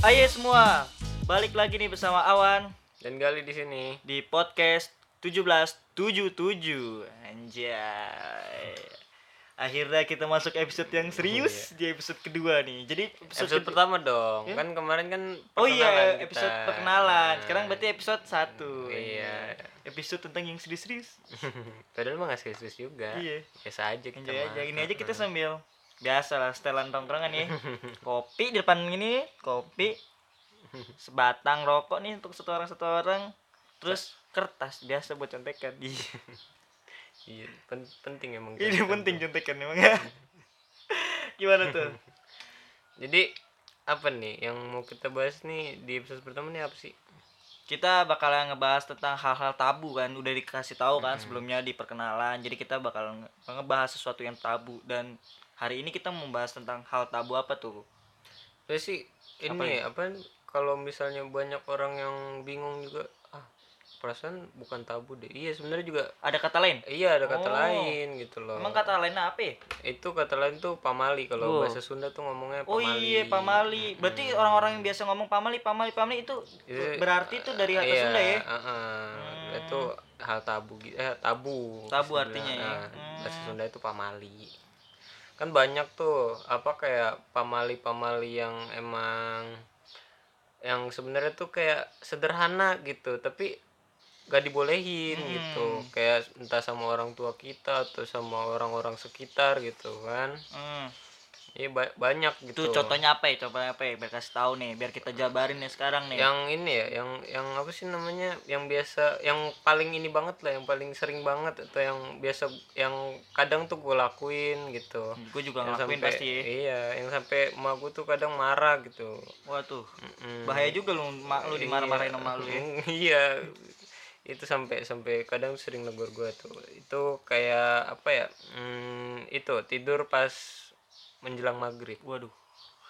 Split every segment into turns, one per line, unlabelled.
Hai semua, balik lagi nih bersama Awan
Dan Gali di sini.
di podcast 1777 Anjay Akhirnya kita masuk episode yang serius di episode kedua nih Jadi
Iya. Episode
episode, kedua-
pertama dong. Kan kemarin kan
Oh iya,
perkenalan
episode
kita.
perkenalan
Nah,
Sekarang berarti episode 1
Iya.
Episode tentang yang serius-serius
Padahal mah nggak serius juga.
Iya.
Biasa aja kita.
Enjoy aja,
mah.
ini aja kita sambil Biasa lah, setelan tongkrongan ya Kopi di depan ini, kopi Sebatang rokok nih untuk satu orang-satu orang Terus kertas biasa buat contekan
Iya, pen- penting emang.
Ini
gitu.
penting contekan emang ya. Gimana tuh?
Jadi apa nih yang mau kita bahas nih di episode pertama nih apa sih?
Kita bakalan ngebahas tentang hal-hal tabu kan, udah dikasih tahu kan sebelumnya di perkenalan. Jadi kita bakal nge- ngebahas sesuatu yang tabu dan hari ini kita membahas tentang hal tabu apa tuh?
Terus sih ini
Apa
apa, kalau misalnya banyak orang yang bingung juga ah perasaan bukan tabu deh. Iya sebenarnya juga
Ada kata lain?
iya ada
Oh.
kata lain gitu loh.
Emang kata lain apa? ya?
itu kata lain tuh pamali
Oh.
kalau bahasa Sunda tuh ngomongnya
Oh
pamali. Hmm.
iya, pamali. Berarti orang-orang yang biasa ngomong pamali, pamali, pamali itu
Iya,
berarti itu dari kata
iya,
Sunda ya. Hmm.
heeh. Itu hal tabu gitu, eh tabu.
Tabu
Sunda.
artinya ya.
Nah, bahasa Sunda itu pamali. Kan banyak tuh apa kayak pamali-pamali yang emang yang sebenarnya tuh kayak sederhana gitu, tapi gak dibolehin gitu.
Hmm.
Kayak entah sama orang tua kita atau sama orang-orang sekitar gitu kan.
Hmm.
Iya ba- banyak
Itu
gitu.
contohnya apa ya? Coba apa ya? Biar kasih tahu nih, biar kita jabarin ya sekarang nih.
yang ini ya yang yang apa sih namanya yang biasa yang paling ini banget lah yang paling sering banget atau yang biasa yang kadang tuh gue lakuin gitu
Gue juga
yang
ngelakuin
sampai-
Hmm, pasti ya.
iya yang sampai emak gue tuh kadang marah gitu
Wah tuh,
Mm-mm.
bahaya juga lu mak lu dimarah-marahin sama lu ya.
iya itu sampai sampai kadang sering negur gue tuh itu kayak apa ya mm, itu tidur pas menjelang maghrib
Waduh,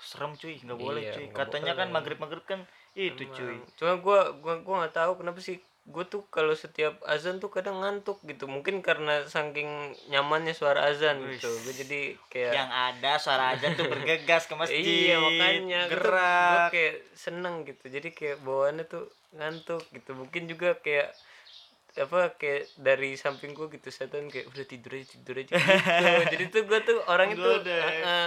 serem cuy, nggak boleh
Iya,
cuy.
nggak
Katanya kan maghrib maghrib kan itu cuy.
Emang. Cuma gua gua gua nggak tahu kenapa sih gue tuh kalau setiap azan tuh kadang ngantuk gitu mungkin karena saking nyamannya suara azan gitu gue jadi kayak
Yang ada suara aja tuh bergegas ke Ya, masjid.
iya makanya
gerak.
gue kayak seneng gitu jadi kayak bawaannya tuh ngantuk gitu mungkin juga kayak apa kayak dari samping gue gitu setan kayak udah tidur aja tidur aja gitu jadi tuh gue tuh orang itu
Goda.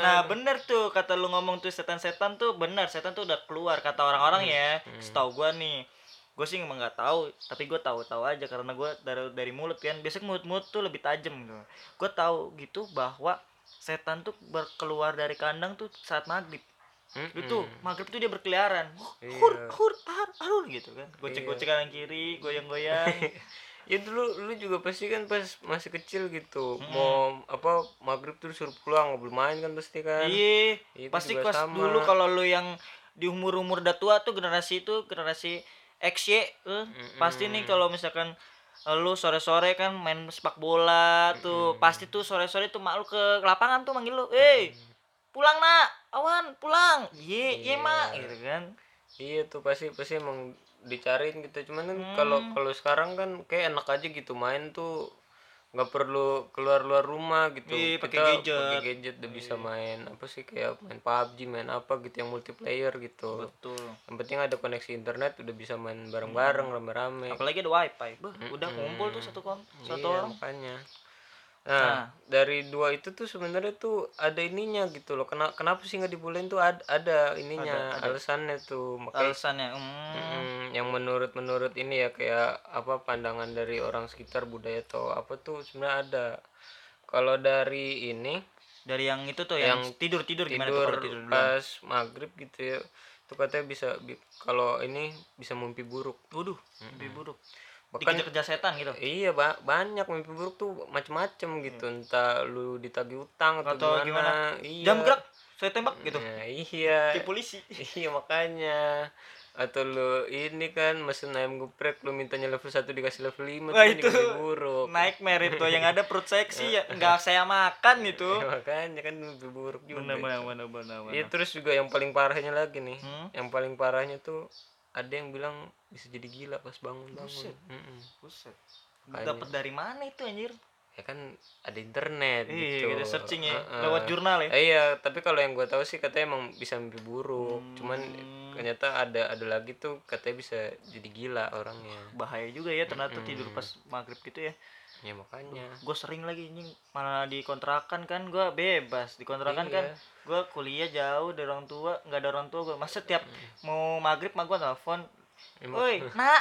Nah bener tuh kata lu ngomong tuh setan-setan tuh bener setan tuh udah keluar kata orang-orang ya. Setahu gua nih, gue sih emang nggak tahu, tapi gue tahu-tahu aja karena gua dari dari mulut kan. Biasanya mulut-mulut tuh lebih tajam gitu. Gue tahu gitu bahwa setan tuh berkeluar dari kandang tuh saat maghrib.
Mm-mm.
Itu maghrib tuh dia berkeliaran. Hur, hur, har, harur gitu kan. Gocek-gocek kanan kiri, goyang-goyang.
ya dulu lu juga pasti kan pas masih kecil gitu mau apa maghrib tuh disuruh pulang nggak boleh main kan pasti kan
Iya,
Itu
pasti
juga
kelas
sama.
dulu kan? kalau lu yang di umur-umur udah tua tuh generasi itu generasi X Y, eh, pasti nih kalau misalkan eh, lu sore-sore kan main sepak bola tuh, pasti tuh sore-sore tuh mak lu ke lapangan tuh manggil lu, "Eh, pulang nak, awan pulang." Iya, iya mak, gitu kan.
iya tuh pasti pasti emang dicariin gitu cuman kan
Hmm.
kalau kalau sekarang kan kayak enak aja gitu main tuh nggak perlu keluar luar rumah gitu
Iya, pakai gadget. Iya.
pakai gadget udah bisa main apa sih kayak main PUBG main apa gitu yang multiplayer gitu
Betul.
yang penting ada koneksi internet udah bisa main bareng bareng
Hmm.
rame rame
Apalagi ada wifi, Beuh, udah kumpul tuh satu kom, satu
Iya,
orang.
makanya. Nah, dari dua itu tuh sebenarnya tuh ada ininya gitu loh. Kena, kenapa sih nggak dibolehin tuh ad- ada ininya alasannya tuh. Makanya
Alasannya, hmm,
mm, yang menurut menurut ini ya kayak apa pandangan dari orang sekitar budaya atau apa tuh sebenarnya ada. Kalau dari ini
dari yang itu tuh yang, tidur tidur gimana tuh
tidur,
kalau tidur dulu?
pas maghrib gitu ya, tuh katanya bisa bi- kalau ini bisa mimpi buruk.
Waduh, lebih buruk.
Bahkan-
Dikejar-kejar setan gitu.
Iya, ba- banyak mimpi buruk tuh macem-macem gitu. Entah lu ditagih utang atau,
Hmm. Atau
gimana. Iya.
jam gerak saya tembak gitu
Nah, iya.
kayak polisi
Iya, makanya. Atau lu ini kan mesen ayam geprek lu mintanya level 1 dikasih level 5
Wah,
kan
itu.
dikasih buruk.
nightmare itu yang ada perut seksi ya
Iya.
nggak saya makan itu
Ya, makanya kan mimpi buruk juga.
Gitu. bener bener bener bener bener. Hmm?
Iya, terus juga yang paling parahnya lagi nih. Yang paling parahnya tuh ada yang bilang bisa jadi gila pas bangun-bangun. Mm-mm.
Buset. dapat dari mana itu anjir
ya kan ada internet
Iya,
gitu
kita searching ya
Heeh.
lewat jurnal ya.
Eh, iya tapi kalau yang gue tahu sih katanya emang bisa mimpi buruk cuman
Hmm.
ternyata ada ada lagi tuh katanya bisa jadi gila orangnya
Bahaya juga ya ternyata tidur
Mm-mm.
pas maghrib gitu ya.
ya makanya
Gue sering lagi anjing mana di kontrakan kan gue bebas di kontrakan kan
Iya.
gue kuliah jauh dari orang tua nggak ada orang tua gue masa tiap mau maghrib mah gue telepon
Emang-
woi nak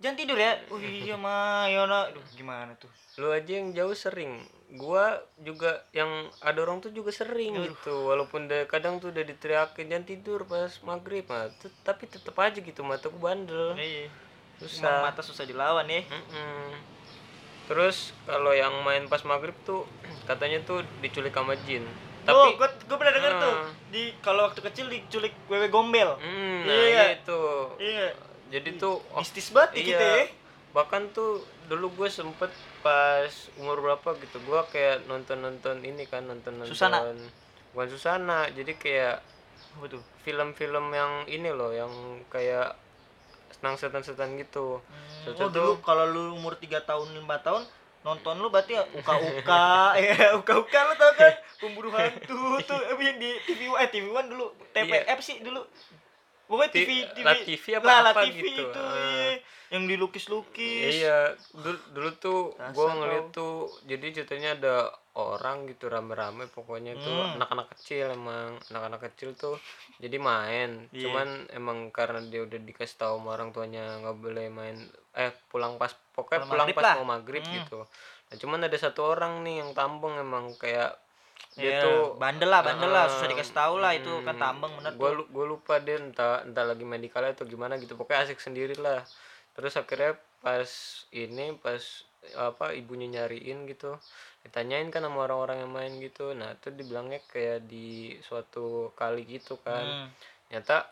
jangan tidur ya oh iya ma ya nak Aduh, gimana tuh
lu aja yang jauh sering gua juga yang ada orang tuh juga sering gitu walaupun udah- kadang tuh udah diteriakin jangan tidur pas maghrib nah, tet- tapi tetep aja gitu mata gua bandel
Iya, emang
susah
mata susah dilawan ya
Mm-mm. terus kalau yang main pas maghrib tuh katanya tuh diculik sama jin
tapi
tapi
gue gue pernah dengar tuh
Ah.
di kalau waktu kecil diculik wewe gombel
Mm, nah
Iya.
iya itu
iya
jadi tuh oh,
mistis banget ya kita ya
bahkan tuh dulu gue sempet pas umur berapa gitu gue kayak nonton nonton ini kan nonton nonton
Susana.
bukan Susana jadi kayak
apa tuh
film-film yang ini loh yang kayak senang setan-setan gitu
Hmm,
Contoh
oh dulu kalau lu umur 3 tahun 5 tahun nonton lu berarti ya uka-uka ya uka-uka lu tau kan pemburu hantu tuh eh, yang di TV One eh TV One dulu
Iya.
TPF sih dulu pokoknya
Ti-
TV TV
La TV apa
Lah, La
apa
TV
gitu,
itu
ah.
iya. yang dilukis-lukis
iya dulu, dulu tuh gue
Dasar
ngeliat tuh jadi ceritanya ada orang gitu rame-rame pokoknya tuh
Hmm.
anak-anak kecil emang anak-anak kecil tuh jadi main
Iya.
cuman emang karena dia udah dikasih tahu sama orang tuanya nggak boleh main eh pulang pas pokoknya
Pulang
pulang
maghrib
pas
lah.
mau maghrib
Hmm.
gitu nah cuman ada satu orang nih yang tambeng emang kayak dia
Iya,
tuh
bandel lah bandel lah
Heeh.
susah dikasih tahu lah itu kan
Hmm,
tambeng bener
gua
tuh
lu- gua lupa deh entah entah lagi medikalnya atau gimana gitu pokoknya asik sendiri lah terus akhirnya pas ini pas apa ibunya nyariin gitu ditanyain kan sama orang-orang yang main gitu nah itu dibilangnya kayak di suatu kali gitu kan
Hmm.
nyata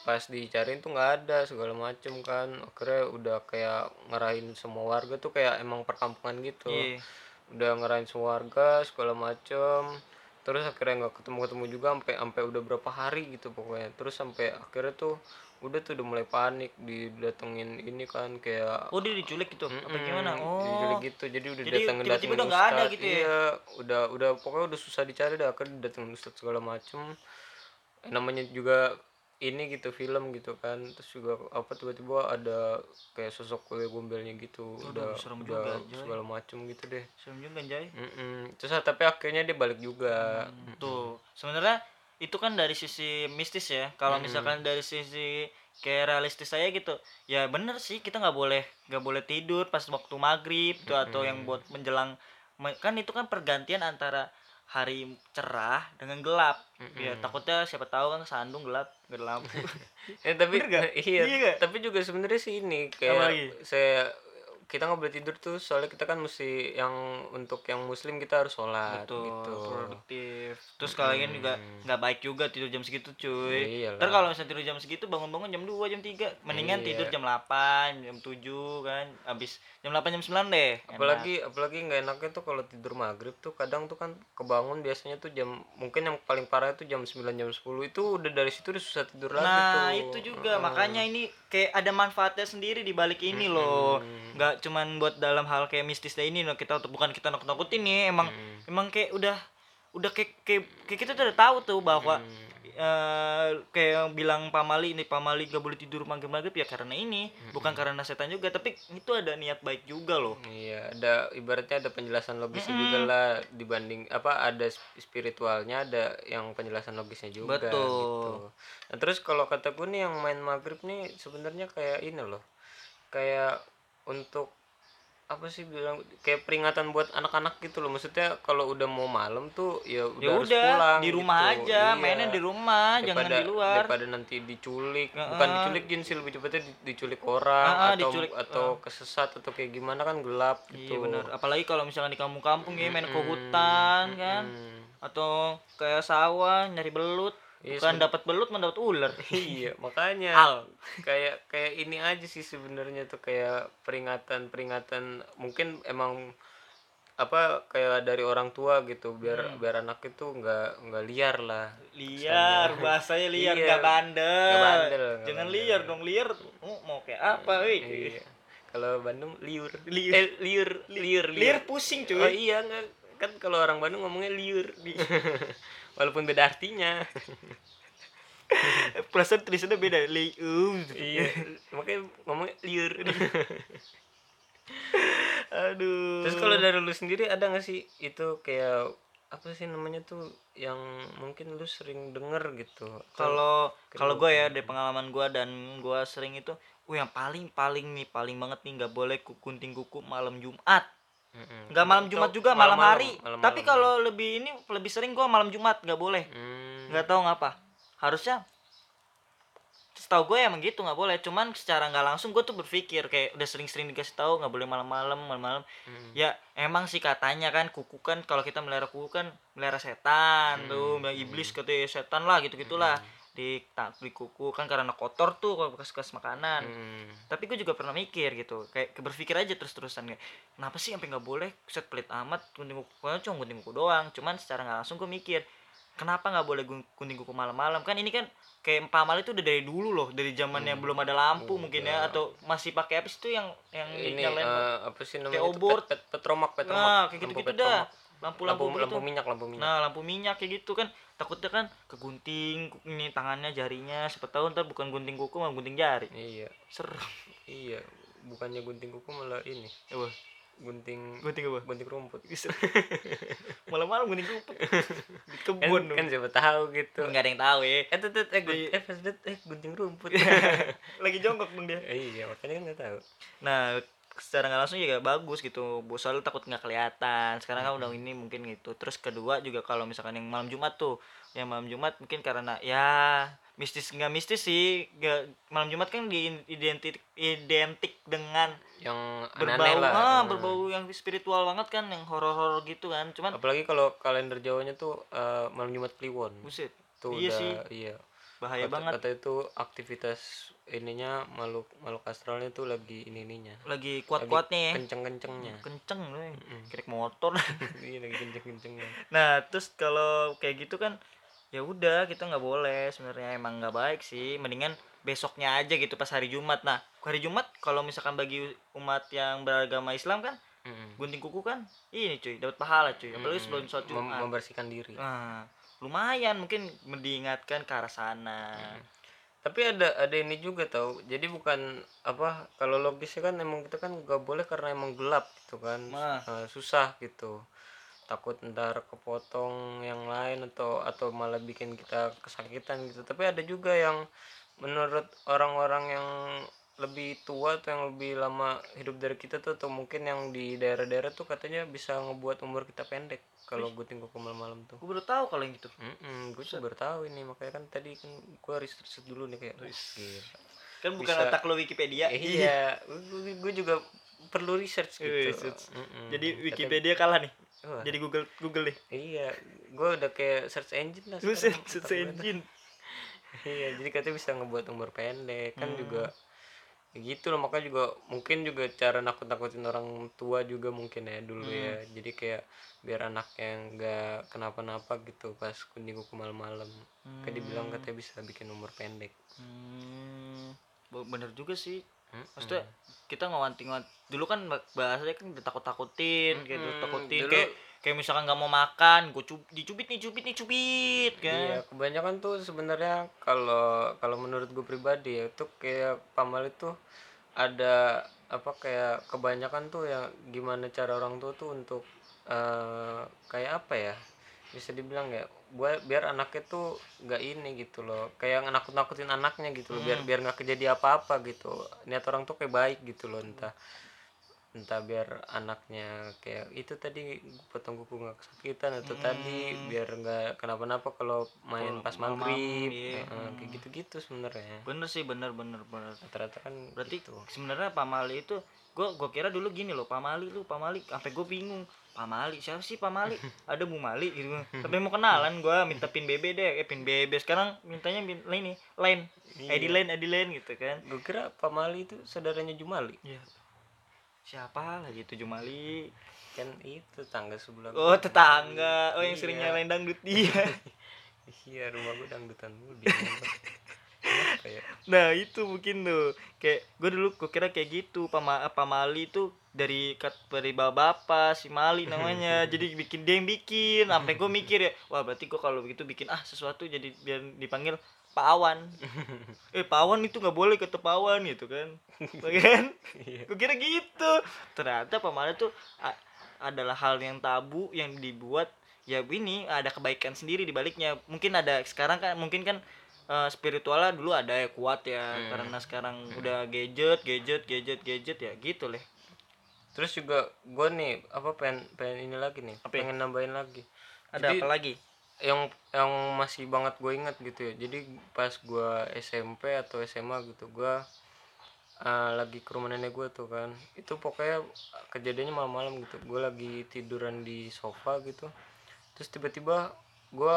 pas dicariin tuh nggak ada segala macem kan akhirnya udah kayak ngerahin semua warga tuh kayak emang perkampungan gitu
Iya.
udah ngerain warga segala macem terus akhirnya nggak ketemu ketemu juga sampai sampai udah berapa hari gitu pokoknya terus sampai akhirnya tuh udah tuh udah mulai panik didatengin ini kan kayak
oh dia diculik gitu apa
Mm-mm,
gimana
dijulik
oh
gitu jadi udah
Jadi
datengin
tiba-tiba
datengin
udah nggak ada
ustad,
gitu ya?
iya, udah udah pokoknya udah susah dicari dah akhirnya datengin ustad segala macem Eh, namanya juga ini gitu film gitu kan terus juga apa tiba-tiba ada kayak sosok kue gombelnya gitu
Aduh,
udah
serem
udah
juga, Joy.
segala macem gitu deh
serem juga anjay
Mm-mm. Terus ah, tapi akhirnya dia balik juga.
Hmm. tuh sebenarnya itu kan dari sisi mistis ya kalau misalkan dari sisi kayak realistis saya gitu ya bener sih kita nggak boleh nggak boleh tidur pas waktu maghrib tuh atau yang buat menjelang me- kan itu kan pergantian antara hari cerah dengan gelap ya takutnya siapa tahu kan sandung gelap nggak ada lampu
Eh tapi iya,
Iya nggak?
tapi juga sebenarnya sih ini
lagi?
kayak saya kita nggak boleh tidur tuh soalnya kita kan mesti yang untuk yang muslim kita harus sholat
tuh
gitu. Mm.
produktif terus kalian juga nggak baik juga tidur jam segitu cuy
Iya
ntar kalau misalnya tidur jam segitu bangun-bangun jam 2 jam 3 mendingan tidur jam 8 jam 7 kan habis jam 8 jam 9 deh Enak.
Apalagi apalagi nggak enaknya tuh kalau tidur maghrib tuh kadang tuh kan kebangun biasanya tuh jam mungkin yang paling parah itu jam 9 jam 10 itu udah dari situ udah susah tidur lagi tuh.
nah itu juga makanya ini kayak ada manfaatnya sendiri di balik ini loh nggak cuman buat dalam hal kayak mistisnya ini loh kita bukan kita nakut-nakutin nih emang emang kayak udah udah kayak, kayak, kayak kita tuh udah tahu tuh bahwa eh kayak yang bilang pamali ini pamali gak boleh tidur maghrib maghrib ya karena ini bukan karena setan juga tapi itu ada niat baik juga loh
Iya, ada ibaratnya ada penjelasan logisnya juga lah dibanding apa ada sp- spiritualnya ada yang penjelasan logisnya juga gitu.
Betul.
Nah, terus kalau kata gue nih yang main maghrib nih sebenarnya kayak ini loh. Kayak untuk apa sih bilang kayak peringatan buat anak-anak gitu loh. Maksudnya kalau udah mau malam tuh ya udah,
ya
harus pulang
udah di rumah
gitu.
aja
Iya.
mainnya di rumah jangan di luar
daripada nanti diculik bukan diculik jin sih lebih cepatnya di- diculik orang
Ah, ah,
atau
diculik,
atau kesesat atau kayak gimana kan gelap
iya
gitu
benar apalagi kalau misalkan di kampung-kampung ya main ke hutan kan
Hmm.
atau kayak sawah nyari belut
Iya,
bukan dapat belut mendapat ular
iya makanya
Al.
kayak kayak ini aja sih sebenarnya tuh kayak peringatan peringatan mungkin emang apa kayak dari orang tua gitu
Hmm.
biar biar anak itu nggak nggak liar lah
liar bahasanya liar
Iya.
nggak bandel.
Nggak bandel, nggak
jangan
bandel.
liar dong liar mau, mau kayak apa wih
Iya. kalau Bandung liur
Liur.
eh, liur liur liur,
Liar pusing
oh
cuy.
iya nggak kan kalau orang Bandung ngomongnya liur walaupun beda artinya
Perasaan tulisannya beda. Liur.
iya makanya ngomongnya liur
Aduh.
terus kalau dari lu sendiri ada nggak sih itu kayak apa sih namanya tuh yang mungkin lu sering denger gitu Atau-
kalau kalau gue ya dari pengalaman gue dan gue sering itu, uh yang paling paling nih paling banget nih nggak boleh ku- kunting kuku malam Jumat.
Mm-mm.
Nggak malam
Atau
Jumat juga malam,
malam-malam,
hari.
malam-malam.
Tapi kalau lebih ini lebih sering gue malam Jumat nggak boleh.
Hmm.
nggak tahu ngapa harusnya setahu gue emang gitu nggak boleh cuman secara nggak langsung gue tuh berpikir kayak udah sering-sering dikasih tahu nggak boleh malam-malam malam-malam
Hmm.
ya emang sih katanya kan kuku kan kalau kita melihara kuku kan melihara setan tuh bilang iblis katanya setan lah gitu gitulah di tak di kuku kan karena kotor tuh kalau bekas-bekas makanan
Hmm.
tapi gue juga pernah mikir gitu kayak ke- berpikir aja terus terusan kayak kenapa sih sampai nggak boleh set pelit amat gunting kuku Padahal cuma gunting kuku doang cuman secara nggak langsung gue mikir kenapa nggak boleh gun- gunting kuku malam-malam kan ini kan kayak pamal itu udah dari dulu loh dari zamannya
Hmm.
belum ada lampu mungkin ya
Udah.
atau masih pakai apa sih tuh yang yang
Iya. ini
nyalain
eh, apa sih namanya
Kayak
itu?
obor.
Pet- pet- petromak petromak
nah kayak
Lampu
gitu gitu
petromak.
dah lampu-lampu
lampu
gitu
lampu minyak lampu minyak
nah lampu minyak kayak gitu kan takutnya kan kegunting ku- ini tangannya jarinya siapa tahu ntar bukan gunting kuku malah gunting jari
iya
serem
iya bukannya gunting kuku malah ini
ya Bang.
gunting
gunting apa
gunting rumput
malam-malam gunting rumput di
kan,
kebun
kan siapa tahu gitu
nggak ada yang tahu ya
eh tuh tuh eh gunting eh, pas det- eh, gunting rumput
lagi jongkok dong dia
Eh, iya makanya kan nggak tahu
nah secara nggak langsung ya bagus gitu bosan lu takut nggak kelihatan sekarang kan
Hmm.
udah ini mungkin gitu terus kedua juga kalau misalkan yang malam jumat tuh yang malam jumat mungkin karena ya mistis nggak mistis sih nggak malam jumat kan diidentik identik dengan
yang aneh
berbau
lah
ah,
Hmm.
berbau yang spiritual banget kan yang horor-horor gitu kan cuman
apalagi kalau kalender jawanya tuh eh, malam jumat kliwon
buset
tuh
iya
udah
sih
iya
bahaya
Kata-
banget
kata itu aktivitas ininya makhluk makhluk astralnya tuh lagi ini ininya
lagi kuat-kuatnya ya
kenceng kencengnya
kenceng loh kayak motor
iya lagi kenceng kencengnya
nah terus kalau kayak gitu kan ya udah kita nggak boleh sebenarnya emang nggak baik sih mendingan besoknya aja gitu pas hari Jumat nah hari Jumat kalau misalkan bagi umat yang beragama Islam kan gunting kuku kan ini cuy dapat pahala cuy apalagi sebelum sholat
Mem-
Jumat
membersihkan diri
nah, lumayan mungkin diingatkan ke arah sana
tapi ada ada ini juga tau jadi bukan apa kalau logisnya kan emang kita kan gak boleh karena emang gelap gitu kan
Mah.
Eh, susah gitu takut ntar kepotong yang lain atau atau malah bikin kita kesakitan gitu tapi ada juga yang menurut orang-orang yang lebih tua atau yang lebih lama hidup dari kita tuh atau mungkin yang di daerah-daerah tuh katanya bisa ngebuat umur kita pendek kalau gue kuku malam-malam tuh
gue baru tahu kalau yang gitu
Mm gue juga baru tahu ini makanya kan tadi kan gue research dulu nih kayak wih, gila.
kan bukan
Iya. Bisa.
otak lo Wikipedia
iya gue juga perlu research gitu
Research.
Mm-mm.
jadi
Katanya-
Wikipedia kalah nih
Wah,
jadi Google Google deh
iya gue udah kayak search engine lah
Lu
sekarang.
search engine
iya jadi katanya bisa ngebuat umur pendek
Hmm.
kan juga ya gitu loh makanya juga mungkin juga cara nakut-nakutin orang tua juga mungkin ya dulu ya
Hmm.
jadi kayak biar anak yang nggak kenapa-napa gitu pas kunjung kuku malam-malam kan dibilang katanya bisa bikin umur pendek
Hmm, be- bener juga sih.
Mm-mm.
Maksudnya kita ngewanting-wanting dulu kan ba- bahasanya kan ditakut-takutin kayak
Mm-mm,
takutin
Hmm, dulu-
kayak kayak misalkan nggak mau makan, gue cub dicubit nih cubit nih cubit
Iya,
kan.
kebanyakan tuh sebenarnya kalau kalau menurut gue pribadi ya itu kayak pamal itu ada apa kayak kebanyakan tuh ya gimana cara orang tua tuh untuk eh, kayak apa ya bisa dibilang ya buat biar anaknya tuh nggak ini gitu loh kayak nakut nakutin anaknya gitu loh biar biar nggak kejadi apa apa gitu niat orang tuh kayak baik gitu loh entah entah biar anaknya kayak itu tadi potong kuku nggak kesakitan
Hmm.
atau tadi biar nggak kenapa-napa kalau main pas
malam,
maghrib
iya.
Heeh, kayak gitu-gitu sebenarnya
Bener sih bener bener bener.
rata-rata kan
Berarti
gitu.
sebenarnya Pak Mali itu gue gue kira dulu gini loh Pak Mali lu Pak Mali sampai gue bingung Pak Mali siapa sih Pak Mali ada Bu Mali gitu sampai mau kenalan gue minta pin BB deh eh pin BB sekarang mintanya pin ini lain
Iya.
ID lain ID lain gitu kan
gue kira pamali itu saudaranya jumali
Iya. Siapa lagi tujuh mali?
kan itu tangga sebelah
Oh
gua.
tetangga, oh yang
Iya.
sering nyalain dangdut dia.
iya rumah gue dangdutan mulu dia. Iya.
Nah itu mungkin tuh kayak gue dulu gue kira kayak gitu pama pamali itu dari kat- dari bapak si Mali namanya jadi bikin dia yang bikin sampai gue mikir ya wah berarti gue kalau begitu bikin ah sesuatu jadi biar dipanggil Pak Awan eh Pak Awan itu nggak boleh kata Pak Awan gitu kan kan
Iya.
gue kira gitu ternyata pamali tuh a- adalah hal yang tabu yang dibuat ya ini ada kebaikan sendiri di baliknya mungkin ada sekarang kan mungkin kan eh, spiritualnya dulu ada ya kuat ya
Hmm.
karena sekarang udah gadget gadget gadget gadget ya gitu leh
Terus juga gue nih apa pengen pengen ini lagi nih,
Apa ya?
pengen nambahin lagi.
ada
Jadi,
apa lagi
yang yang masih banget gue ingat gitu ya jadi pas gue SMP atau SMA gitu gue eh, lagi ke rumah nenek gue tuh kan itu pokoknya kejadiannya malam-malam gitu gue lagi tiduran di sofa gitu terus tiba-tiba gue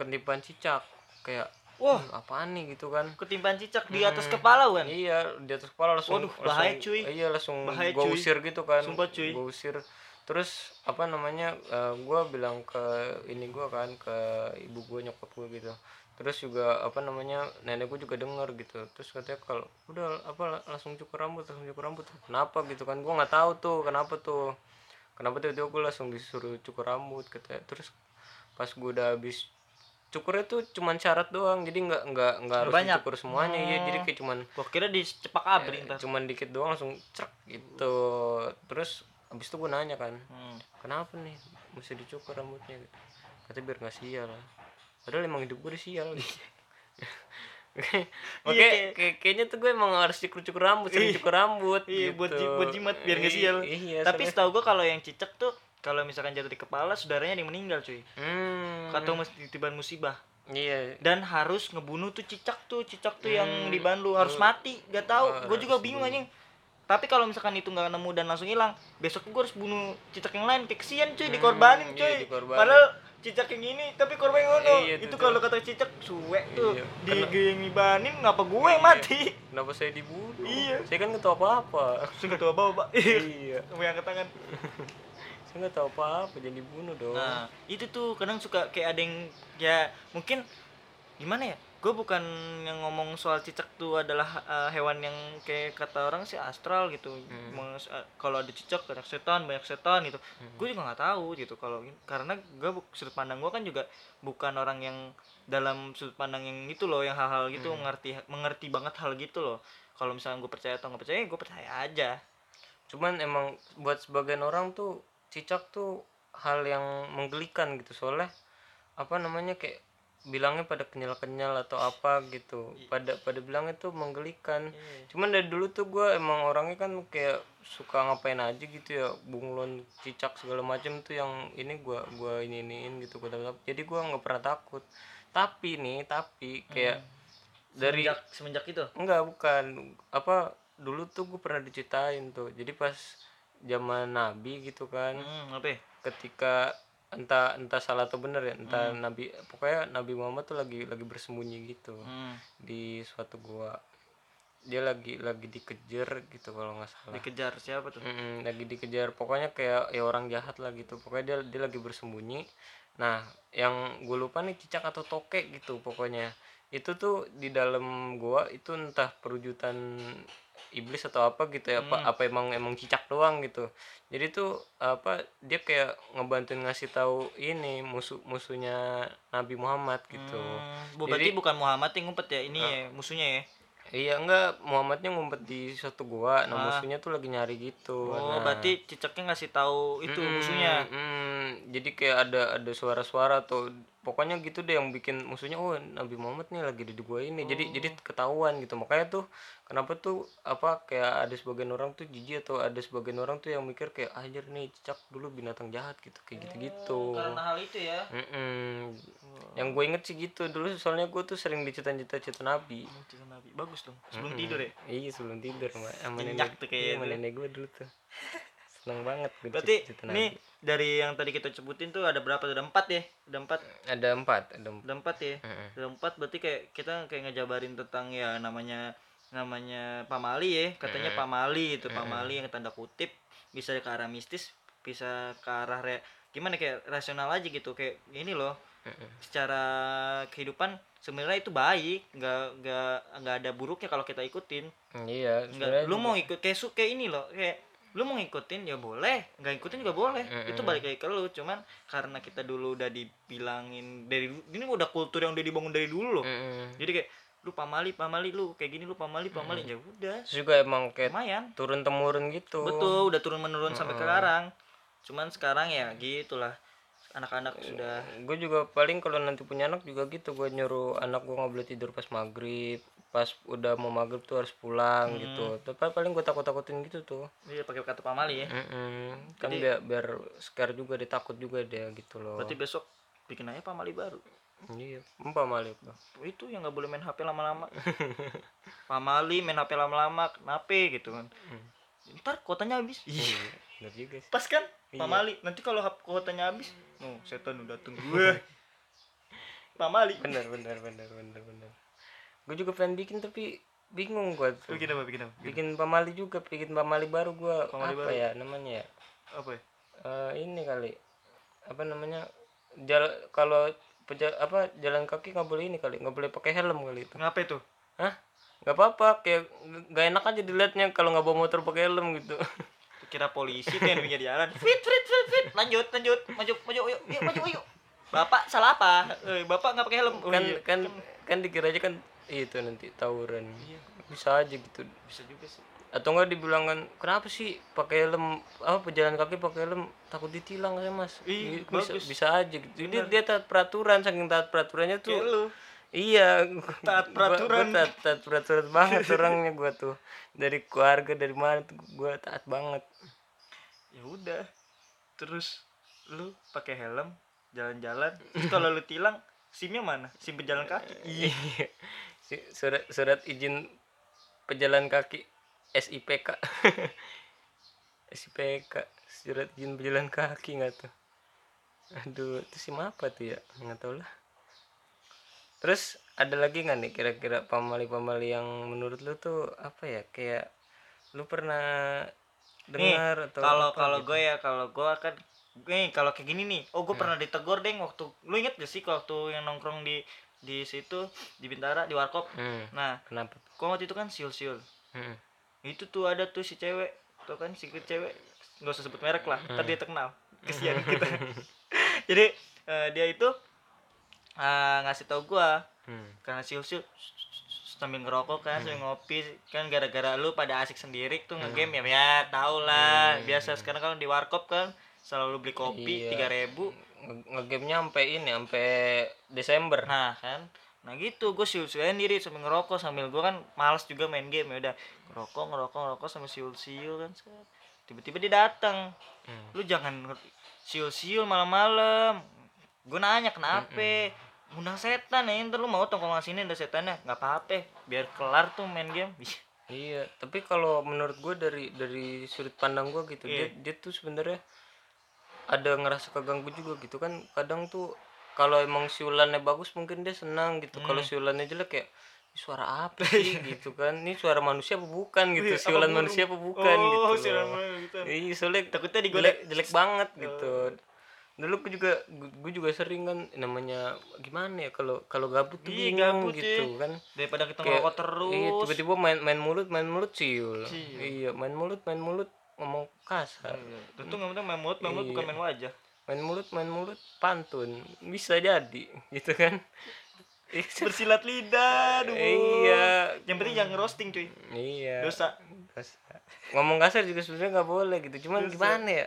ketipan cicak kayak
Wah.
wah Hmm. apaan nih gitu kan
ketimpan Hmm, cicak di atas kepala kan
Iya, di atas kepala langsung.
Waduh, bahaya,
langsung-
cuy.
Iya, langsung
Bahaya,
gua
cuy.
usir gitu kan.
Sumpah, cuy.
Gua usir. Terus apa namanya? eh, gua bilang ke ini gua kan ke ibu gua nyokap gua gitu. Terus juga apa namanya? Nenek gua juga dengar gitu. Terus katanya kalau udah apa la- langsung cukur rambut, langsung cukur rambut. Kenapa gitu kan? Gua nggak tahu tuh kenapa tuh. Kenapa tiba-tiba gua langsung disuruh cukur rambut katanya. Terus pas gua udah habis cukurnya tuh cuman syarat doang jadi nggak nggak nggak harus
Banyak. Hmm.
dicukur semuanya ya jadi kayak cuman
gue kira di cepak abrik ntar.
cuman dikit doang langsung cerk gitu terus abis itu gue nanya kan
Hmm.
kenapa nih mesti dicukur rambutnya gitu katanya biar nggak sial padahal emang hidup gue sial gitu Oke,
Iya,
kayak- kayaknya tuh gue emang harus cukur-cukur rambut, sering cukur rambut.
Iya buat
gitu.
ji- buat jimat biar gak sial.
Iya,
Tapi
soalnya-
setahu gua kalau yang cicak tuh kalau misalkan jatuh di kepala saudaranya ada yang meninggal cuy.
hmm,
Atau mesti ditiban musibah
iya,
dan harus ngebunuh tuh cicak tuh cicak tuh yang
Hmm. Ah,
di Bandung harus mati gak tahu gue
Harus
juga bingung anjing tapi kalau misalkan itu nggak nemu dan langsung hilang besok gue harus bunuh cicak yang lain kayak kesian cuy
Hmm,
dikorbanin
iya,
cuy
dikorbanin.
padahal cicak yang ini tapi korban yang ono
Iya,
itu
itu
kalau
tuh.
kata cicak suwek tuh
Iya,
di
karena-
gue yang ngibanin ngapa gue yang mati
kenapa saya dibunuh?
Iya.
Saya kan nggak tahu apa-apa.
langsung ketua bawa pak
iya,
Mau angkat tangan
saya nggak tahu apa-apa, jadi dibunuh dong.
Nah, itu tuh kadang suka kayak ada yang ya mungkin gimana ya? Gue bukan yang ngomong soal cicak tuh adalah eh, hewan yang kayak kata orang sih astral gitu.
Hmm.
Meng- eh, kalau ada cicak banyak setan, banyak setan gitu. Gue juga nggak tahu gitu kalau karena gue sudut pandang gue kan juga bukan orang yang dalam sudut pandang yang itu loh yang hal-hal gitu
Hmm.
mengerti mengerti banget hal gitu loh. Kalau misalnya gue percaya atau nggak percaya, gue percaya aja.
cuman emang buat sebagian orang tuh cicak tuh hal yang menggelikan gitu soalnya apa namanya kayak bilangnya pada kenyal-kenyal atau apa gitu pada pada bilangnya tuh menggelikan
Iya,
cuman dari dulu tuh gue emang orangnya kan kayak suka ngapain aja gitu ya bunglon cicak segala macem tuh yang ini gua gua ini iniin gitu gua tetap jadi gua nggak pernah takut tapi nih tapi kayak dari
Semenjak, semenjak itu.
Enggak, bukan. Apa dulu tuh gue pernah diceritain tuh. Jadi pas zaman Nabi gitu kan,
Hmm, apa? ya?
ketika entah entah salah atau bener ya, entah Nabi pokoknya Nabi Muhammad tuh lagi lagi bersembunyi gitu
Hmm.
di suatu gua. Dia lagi lagi dikejar gitu kalau nggak salah.
Dikejar siapa tuh?
Mm-mm, lagi dikejar pokoknya kayak ya orang jahat lah gitu pokoknya dia dia lagi bersembunyi nah yang gue lupa nih cicak atau tokek gitu pokoknya itu tuh di dalam gua itu entah perwujudan iblis atau apa gitu ya
Mm.
apa apa emang emang cicak doang gitu jadi tuh apa dia kayak ngebantuin ngasih tahu ini musuh musuhnya Nabi Muhammad gitu
Hmm, bu- berarti bukan Muhammad yang ngumpet ya ini ya musuhnya ya.
iya enggak Muhammadnya ngumpet di suatu gua nah
Ah.
musuhnya tuh lagi nyari gitu
Oh,
Nah,
berarti cicaknya ngasih tahu itu
Mm,
musuhnya.
mm, jadi kayak ada ada suara-suara tuh pokoknya gitu deh yang bikin musuhnya oh Nabi Muhammad nih lagi di gua ini jadi
Oh.
jadi ketahuan gitu makanya tuh kenapa tuh apa kayak ada sebagian orang tuh jijik atau ada sebagian orang tuh yang mikir kayak "Ah, anjir nih cicak dulu binatang jahat gitu kayak gitu-gitu
Karena hal itu ya.
Mm-mm. yang gue inget sih gitu dulu soalnya gue tuh sering dicita-cita-cita Nabi
Cicak Hmm, Nabi bagus dong. Sebelum tidur ya.
iya sebelum tidur sama sama
Nyenyak
nenek,
tuh
iya,
kayaknya
sama
tuh.
nenek gue dulu tuh seneng banget gue
Berarti
dicita-cita Nabi.
nih dari yang tadi kita sebutin tuh ada berapa? Ada empat ya. Ada empat.
ada empat ada empat
Ada empat ya.
Mm-mm.
Ada empat berarti kayak kita kayak ngejabarin tentang ya namanya namanya pamali ya. Katanya pamali itu pamali yang tanda kutip bisa ke arah mistis, bisa ke arah re- gimana kayak rasional aja gitu kayak ini loh
Mm-mm.
secara kehidupan sebenarnya itu baik nggak nggak nggak ada buruknya kalau kita ikutin
Iya, sebenarnya
nggak lu
juga-
mau ikut kayak su- kayak ini loh kayak lu mau ngikutin ya boleh nggak ngikutin juga boleh
Mm-mm.
itu balik lagi ke lu cuman karena kita dulu udah dibilangin dari ini udah kultur yang udah dibangun dari dulu loh
Mm-mm.
jadi kayak lu pamali pamali lu kayak gini lu pamali pamali ya udah
Terus juga emang kayak
lumayan
turun temurun gitu.
Betul, udah turun menurun sampai sekarang. Cuman sekarang ya gitulah. Anak-anak sudah
Gue juga paling kalau nanti punya anak juga gitu, gue nyuruh anak gue nggak boleh tidur pas maghrib, pas udah mau maghrib tuh harus pulang gitu. Tapi paling gue takut takutin gitu tuh.
dia pakai kartu pamali ya.
Iya. Mm-mm. Kan biar biar scare juga, ditakut juga dia gitu loh.
Berarti besok bikin aja pamali baru.
Iya, empah malik Pak.
Oh, Itu yang nggak boleh main HP lama-lama. pamali main HP lama-lama, kenapa gitu kan. Ntar kuotanya habis.
Hmm. Iya, bener juga sih.
Pas kan? Pamali. Nanti kalau hap- kuotanya habis, no, setan udah tunggu gue. pamali.
Bener bener bener bener bener. Gue juga pengen bikin tapi bingung gue
Lu
tuh.
bikin apa? Bikin apa?
Bikin pamali juga, bikin pamali baru gue.
Pamali
Apa ya namanya ya?
Apa ya?
Eh, ini kali apa namanya jalan kalau peja- apa jalan kaki nggak boleh ini kali nggak boleh pakai helm kali itu
Ngapa itu?
Hah? nggak apa-apa kayak nggak enak aja dilihatnya kalau nggak bawa motor pakai helm gitu
kira polisi tuh yang di pinggir jalan fit fit fit fit lanjut lanjut maju maju yuk yuk maju yuk bapak salah apa eh, bapak nggak pakai helm oh,
kan
iya.
kan kan dikira aja kan itu nanti tawuran
Iya.
bisa aja gitu
bisa juga sih
atau enggak dibilangkan kenapa sih pakai helm apa pejalan kaki pakai helm takut ditilang saya mas
Ih,
Gitu, bisa,
bagus.
bisa aja gitu dia, dia taat peraturan saking taat peraturannya tuh
Kayak lu
Iya,
Taat
gua- gua
peraturan.
taat, taat peraturan banget orangnya gua tuh. Dari keluarga dari mana tuh gua taat banget.
ya udah terus lu pakai helm jalan-jalan Terus kalau lu tilang simnya mana sim pejalan kaki
Iya. Si- surat surat izin pejalan kaki SIPK. SIPK surat izin pejalan kaki nggak tuh. Aduh, itu SIM apa tuh ya? Nggak tahu lah. Terus ada lagi nggak nih kira-kira pamali-pamali yang menurut lu tuh apa ya? Kayak lu pernah dengar atau
kalau
apa gitu.
kalau gue ya kalau gue kan nih kalau kayak gini nih oh gue
Hmm.
pernah ditegur deh waktu lu inget gak sih waktu yang nongkrong di di situ di bintara di warkop
Hmm,
nah
kenapa? tuh?
gua waktu itu kan siul siul
Hmm.
itu tuh ada tuh si cewek tuh kan si cewek nggak usah sebut merek lah ntar dia
Hmm.
terkenal kesian kita jadi eh, dia itu eh, ngasih tau gua
Hmm.
karena siul siul sambil ngerokok kan sambil ngopi kan gara-gara lu pada asik sendiri tuh ngegame ya ya tau lah biasa sekarang kalau di warkop kan selalu beli kopi
Iya.
tiga ribu
Nge- Ngegame-nya sampai ini, sampai Desember.
Nah kan, nah gitu gue siul siulan diri sambil ngerokok sambil gue kan males juga main game ya udah ngerokok ngerokok ngerokok sambil siul siul kan set. tiba-tiba dia datang
Hmm.
lu jangan siul siul malam-malam gue nanya
Hmm,
kenapa undang setan ya ntar lu mau tongkrongan sini ada setannya nggak apa-apa biar kelar tuh main game Gitu Ih,
Iya, tapi kalau menurut gue dari dari sudut pandang gue gitu,
Iya.
dia dia tuh sebenarnya ada ngerasa keganggu juga gitu kan. Kadang tuh kalau emang siulannya bagus mungkin dia senang gitu.
Hmm.
Kalau siulannya jelek ya "Ini suara apa sih gitu kan? Ini suara manusia apa bukan gitu? siulan manusia apa bukan
Iya, Oh,
gitu.
siulan
loh.
manusia gitu.
Iya, soalnya
Takutnya Oh. digoda.
jelek, jelek banget gitu. Dulu gue juga gue juga sering kan namanya gimana ya kalau kalau gabut tuh
Iya,
bingung
gabut,
gitu kan.
daripada kita
Kayak-
ngerokok terus
Iya, tiba-tiba main main mulut, main mulut siul. Iya, main mulut, main mulut ngomong kasar.
tentu nggak penting main mulut main
Iya.
mulut bukan main wajah
Main mulut, main mulut pantun. Bisa jadi, gitu kan.
bersilat lidah aduh
iya.
yang penting jangan roasting cuy
Iya.
dosa
Kasar. Ngomong kasar juga sebenarnya nggak boleh gitu. Cuman gimana ya?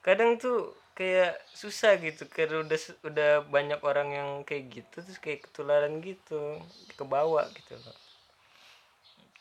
Kadang tuh kayak susah gitu karena udah se- udah banyak orang yang kayak gitu terus kayak ketularan gitu kebawa gitu loh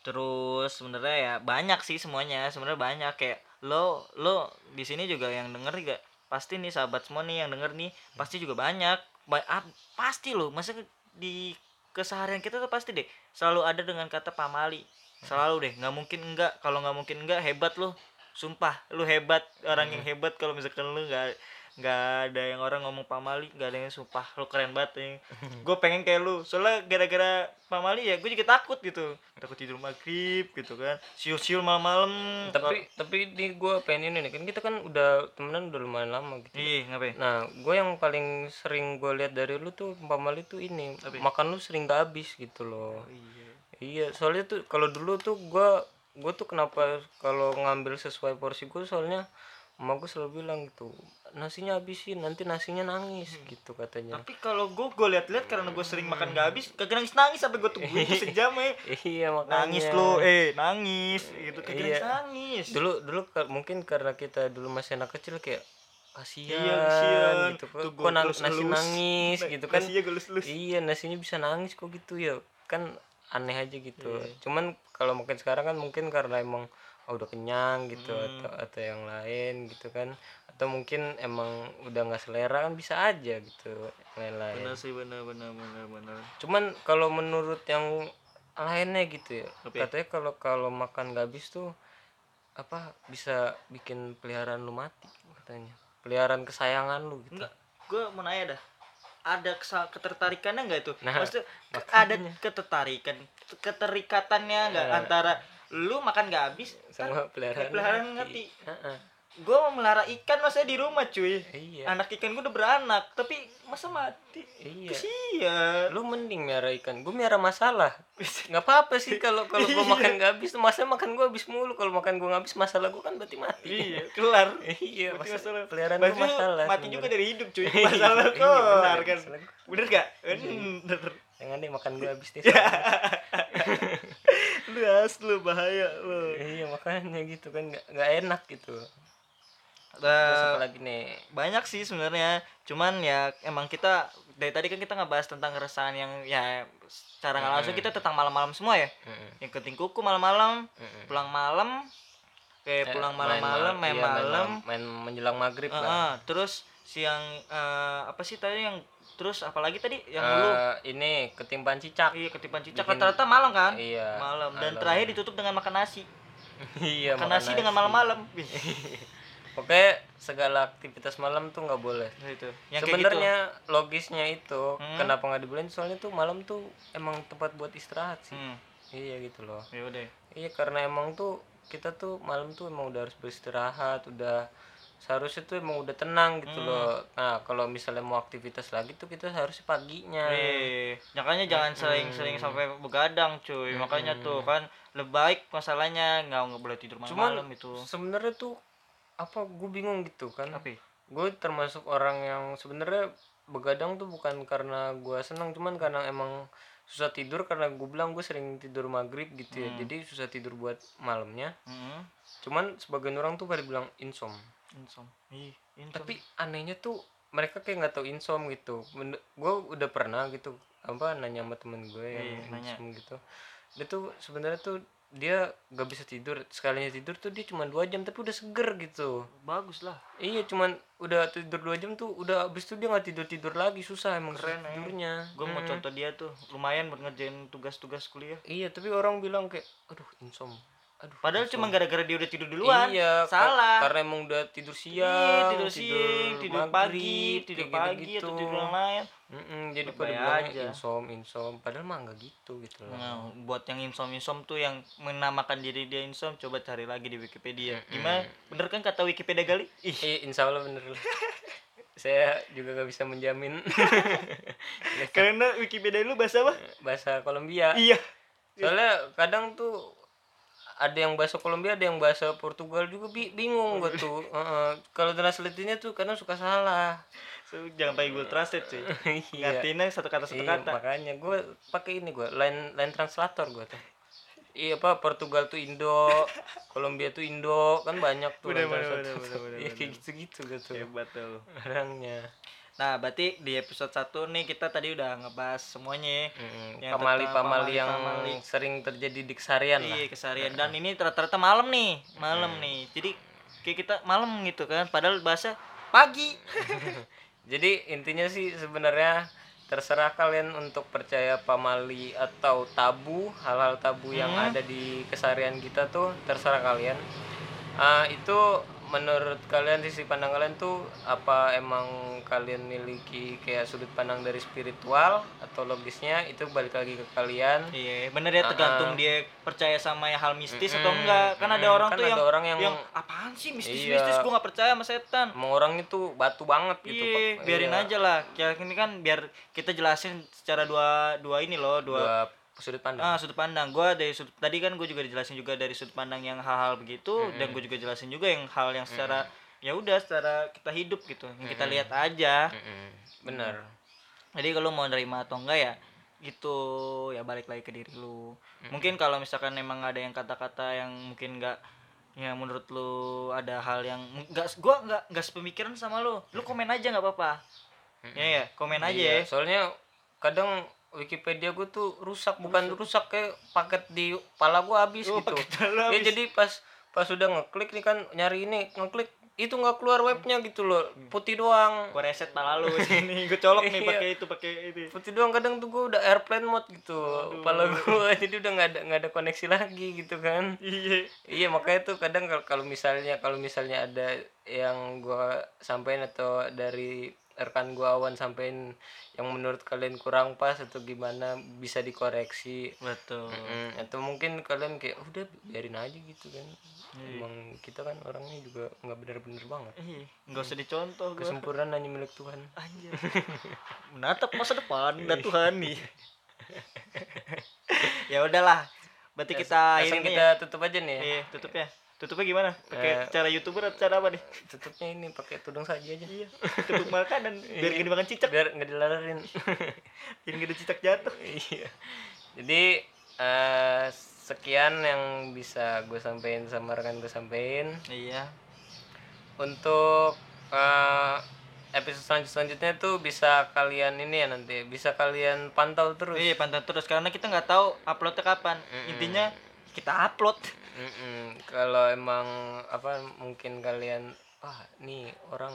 terus sebenarnya ya banyak sih semuanya sebenarnya banyak kayak lo lo di sini juga yang denger juga pasti nih sahabat semua nih yang denger nih pasti juga banyak ba ah, pasti lo masa ke- di keseharian kita tuh pasti deh selalu ada dengan kata pamali selalu deh nggak mungkin enggak kalau nggak mungkin enggak hebat lo sumpah lu hebat orang yang hebat kalau misalkan lu nggak nggak ada yang orang ngomong pamali nggak ada yang sumpah lu keren banget ya. gue pengen kayak lu soalnya gara-gara pamali ya gue juga takut gitu takut tidur maghrib gitu kan siul-siul malam-malam
tapi tapi di gua pengen ini nih kan kita kan udah temenan udah lumayan lama gitu
ih ngapain
nah gue yang paling sering gue lihat dari lu tuh pamali tuh ini makan lu sering gak habis gitu loh
iya
Iya, soalnya tuh kalau dulu tuh gua gua tuh kenapa kalau ngambil sesuai porsi gua soalnya emak gua selalu bilang gitu, nasinya habisin, nanti nasinya nangis
Hmm.
gitu katanya.
tapi kalau gue gue liat-liat karena gue sering makan gak habis kagak nangis nangis sampai gue tungguin tuh sejam ya
iya, makanya.
nangis lu eh nangis gitu kagak
Iya.
nangis nangis
Dulu dulu ka- mungkin karena kita dulu masih anak kecil kayak kasihan
Iya, kasihan.
gitu
Tuh
kok,
gua
kok nang-
terus
nasi
elus.
nangis gitu kan
Nasinya gue lus-lus
iya nasinya bisa nangis kok gitu ya kan aneh aja gitu
Iya.
cuman kalau mungkin sekarang kan mungkin karena emang oh, udah kenyang gitu
Hmm.
atau atau yang lain gitu kan atau mungkin emang udah nggak selera kan bisa aja gitu yang lain-lain
benar sih benar benar benar benar
cuman kalau menurut yang lainnya gitu ya
Apa ya?
katanya kalau kalau makan gak habis tuh apa bisa bikin peliharaan lu mati katanya peliharaan kesayangan lu gitu
enggak gue mau nanya dah ada kesa- ketertarikannya nggak itu
Nah,
maksudnya ke- ada ketertarikan keterikatannya nggak antara lu makan nggak habis
Iya. sama peliharaan
Kan peliharaan
mati.
mati.
Heeh.
gue mau melihara ikan maksudnya di rumah cuy
iya
anak ikan gue udah beranak tapi masa mati
iya
kesian
lu mending miara ikan gue miara masalah nggak apa apa sih kalau kalau
Iya.
gue makan gak habis tuh masa makan gue habis mulu kalau makan gue nggak habis masalah gue kan berarti mati
iya kelar
iya
Berarti
masa-
masalah.
peliharaan
Berarti
gue masalah
mati
sebenarnya.
juga dari hidup cuy
Iya,
masalah
iya,
kelar kan
bener, masalah Iya. gua.
bener gak bener
jangan deh makan gue habis deh
Iya. lu asli bahaya lu
iya makanya gitu kan nggak nggak enak gitu terus
Nah,
apa lagi nih
banyak sih sebenarnya cuman ya emang kita dari tadi kan kita ngebahas tentang keresahan yang ya secara nggak langsung kita tentang malam-malam semua ya
Mm-mm,
yang penting kuku malam-malam
mm-mm.
pulang malam kayak pulang
Eh,
malam-malam
main Nah.
main
iya, main
malam
main menjelang maghrib
Heeh,
lah
terus siang eh, apa sih tadi yang terus apalagi tadi yang
Eh,
dulu
ini ketimpan cicak
iya ketipan cicak
bikin-
rata-rata malam kan
iya
malam dan terakhir ditutup dengan makan nasi
iya
makan
makan
nasi dengan malam-malam Gitu. Wih,
Oke, segala aktivitas malam tuh nggak boleh.
nah itu yang kayak gitu
Sebenarnya logisnya itu
Hmm.
kenapa nggak dibolehin soalnya tuh malam tuh emang tempat buat istirahat sih.
hmm,
Iya gitu loh.
ya udah
Iya karena emang tuh kita tuh malam tuh emang udah harus beristirahat, udah seharusnya tuh emang udah tenang gitu
Hmm.
loh. Nah kalau misalnya mau aktivitas lagi tuh kita harus paginya.
Eh, makanya jangan sering-sering sampai begadang, cuy. Makanya tuh kan lebih baik masalahnya nggak nggak boleh tidur malam, itu.
Sebenarnya tuh apa gue bingung gitu kan.
Tapi
gue termasuk orang yang sebenarnya begadang tuh bukan karena gue senang cuman karena emang susah tidur karena gue bilang gue sering tidur maghrib
Hmm.
gitu ya jadi susah tidur buat malamnya
heeh.
cuman sebagian orang tuh pada bilang insom
Insom. Ih, insom.
tapi anehnya tuh mereka kayak nggak tahu insom gitu gue udah pernah gitu apa nanya sama temen gue yang
Iya, nanya.
insom gitu dia tuh sebenarnya tuh dia gak bisa tidur sekalinya tidur tuh dia cuma dua jam tapi udah seger gitu
bagus lah.
Iya cuman udah tidur dua jam tuh udah abis tuh dia nggak tidur tidur lagi susah emang
Keren,
susah
eh.
tidurnya.
Gue mau contoh dia tuh, lumayan buat ngerjain tugas-tugas kuliah.
Iya tapi orang bilang kayak aduh insom. Aduh.
Padahal cuma gara-gara dia udah tidur duluan.
Iya ka-
salah.
karena emang udah tidur
Iya,
siang,
tidur siang, tidur pagi, tidur pagi atau tidur yang lain.
jadi
Lebay
pada bilangnya
aja.
insom insom padahal mah nggak gitu gitu loh.
Nah, buat yang insom-insom tuh yang menamakan diri dia insom, coba cari lagi di Wikipedia. Gimana? Bener kan kata Wikipedia kali? Ih,
Eh, insya Allah bener lah. Saya juga gak bisa menjamin
Karena Wikipedia lu bahasa apa?
bahasa Kolombia.
Iya.
soalnya kadang tuh ada yang bahasa Kolombia ada yang bahasa Portugal juga bi- bingung gue tuh Heeh. kalau translate-nya tuh kadang suka salah
So, jangan pakai Google Translate cuy.
iya
Ngartiinnya satu kata satu
Iya,
kata.
makanya gue pakai ini gue line line translator gue tuh iya apa Portugal tuh Indo Kolombia tuh Indo kan banyak tuh
Bener,
line
bener,
translator.
bener, bener, bener,
Iya, kayak gitu gitu gue tuh
Hebat tuh.
orangnya
Nah, berarti di episode 1 nih kita tadi udah ngebahas semuanya. ya.
Mm,
Yang tentang
pamali-pamali yang
pamali-pamali.
sering terjadi di keseharian lah Hmm.
Iya, keseharian dan ini rata-rata malam nih, malam nih. Jadi kayak kita malam gitu kan, padahal bahasa pagi.
Jadi intinya sih sebenarnya terserah kalian untuk percaya pamali atau tabu hal-hal
Mm-hmm.
tabu yang ada di keseharian kita tuh terserah kalian. Ah, itu menurut kalian sisi pandang kalian tuh apa emang kalian miliki kayak sudut pandang dari spiritual atau logisnya itu balik lagi ke kalian
Iya, bener ya
Ah,
tergantung dia percaya sama yang hal mistis atau enggak. Kan ada orang
Hmm, Kan
tuh
ada
yang
orang yang-
apaan sih mistis-mistis
Iya.
gua nggak percaya sama setan.
emang orang itu batu banget gitu
Iya,
Pak.
biarin
Iya,
aja lah. Kayak ini kan biar kita jelasin secara dua dua ini loh, dua
dua sudut pandang
ah, sudut pandang. Gua dari sudut tadi kan gue juga dijelasin juga dari sudut pandang yang hal-hal begitu dan gue juga jelasin juga yang hal yang secara ya udah secara kita hidup gitu, yang kita lihat aja.
Mm-mm. bener
jadi kalau mau nerima atau enggak ya gitu ya balik lagi ke diri lu mungkin kalau misalkan emang ada yang kata-kata yang mungkin enggak ya menurut lu ada hal yang enggak gua enggak enggak sepemikiran sama lu lu komen aja nggak apa-apa ya ya komen aja
Iya,
ya
soalnya kadang Wikipedia gue tuh rusak bukan rusak kayak paket di pala gue habis
Oh,
gitu
paket lu
ya
habis.
jadi pas pas udah ngeklik nih kan nyari ini ngeklik itu nggak keluar webnya gitu loh
Hmm.
putih
ya.
doang
gua reset pala lu sini gua colok nih
Iya.
pakai itu pakai itu
putih doang kadang tuh gue udah airplane mode gitu pala gue jadi udah nggak ada nggak ada koneksi lagi gitu kan
iya
iya makanya tuh kadang kal- kalau misalnya kalau misalnya ada yang gua sampein atau dari rekan gua awan sampein yang menurut kalian kurang pas atau gimana bisa dikoreksi
betul
Mm, atau mungkin kalian kayak "Oh, udah biarin aja gitu kan
Iya.
emang kita kan orangnya juga nggak bener-bener banget
Ih, nggak Iya, usah dicontoh gua
kesempurnaan hanya milik Tuhan
anjir menatap masa depan dan Tuhan nih
Iya.
ya udahlah berarti
Ya,
kita
langsung
ini
kita tutup aja nih ya.
Iya, tutupnya. Tutupnya gimana? Pakai cara YouTuber atau cara apa nih?
tutupnya ini pakai tudung saja aja
Iya, tutup makanan biar gede makan cicak,
biar nggak dilalarin
biar gede cicak jatuh.
Iya. Jadi eh, sekian yang bisa gue sampein sama rekan gue sampein.
Iya.
Untuk eh, episode selanjut- selanjutnya tuh bisa kalian ini ya nanti bisa kalian pantau terus.
Iya, pantau terus karena kita nggak tahu uploadnya kapan. Intinya kita upload.
Mm-mm. Kalau emang apa mungkin kalian wah nih orang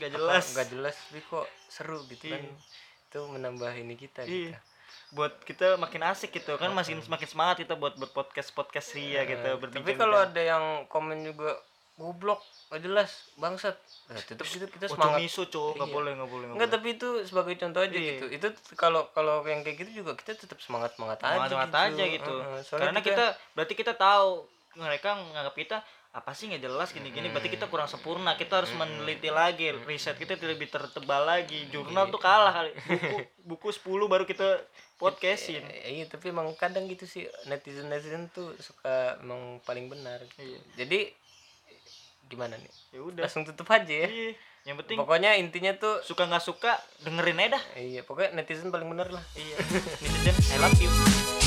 Nggak
apa,
jelas.
nggak jelas tapi kok seru gitu kan itu menambah ini kita gitu.
Iya. Buat kita makin asik gitu kan makin makin semangat kita buat berpodcast podcast ria gitu
Tapi
berbincang.
kalau ada yang komen juga goblok, gak jelas, bangsat. Nah, tetap gitu kita semangat.
miso cowok nggak boleh Iya. nggak boleh
Enggak, tapi itu sebagai contoh aja
Iya.
gitu. Itu t- kalau kalau yang kayak gitu juga kita tetap semangat-semangat aja.
semangat aja gitu.
Heeh,
Karena
soalnya
kita berarti kita tahu mereka menganggap kita apa sih nggak jelas gini-gini. Berarti kita kurang sempurna. Kita harus meneliti lagi, riset kita lebih tertebal lagi.
Iya.
Jurnal tuh kalah kali. Buku, buku 10 baru kita podcastin.
Eh, Iya, tapi emang kadang gitu sih netizen-netizen tuh suka emang paling benar. gitu.
Iya.
Jadi gimana nih?
Ya udah.
Langsung tutup aja ya.
Iya. Yang penting
Pokoknya intinya tuh
suka nggak suka dengerin aja dah.
iya, pokoknya netizen paling benar lah.
Iya. Netizen, I love you.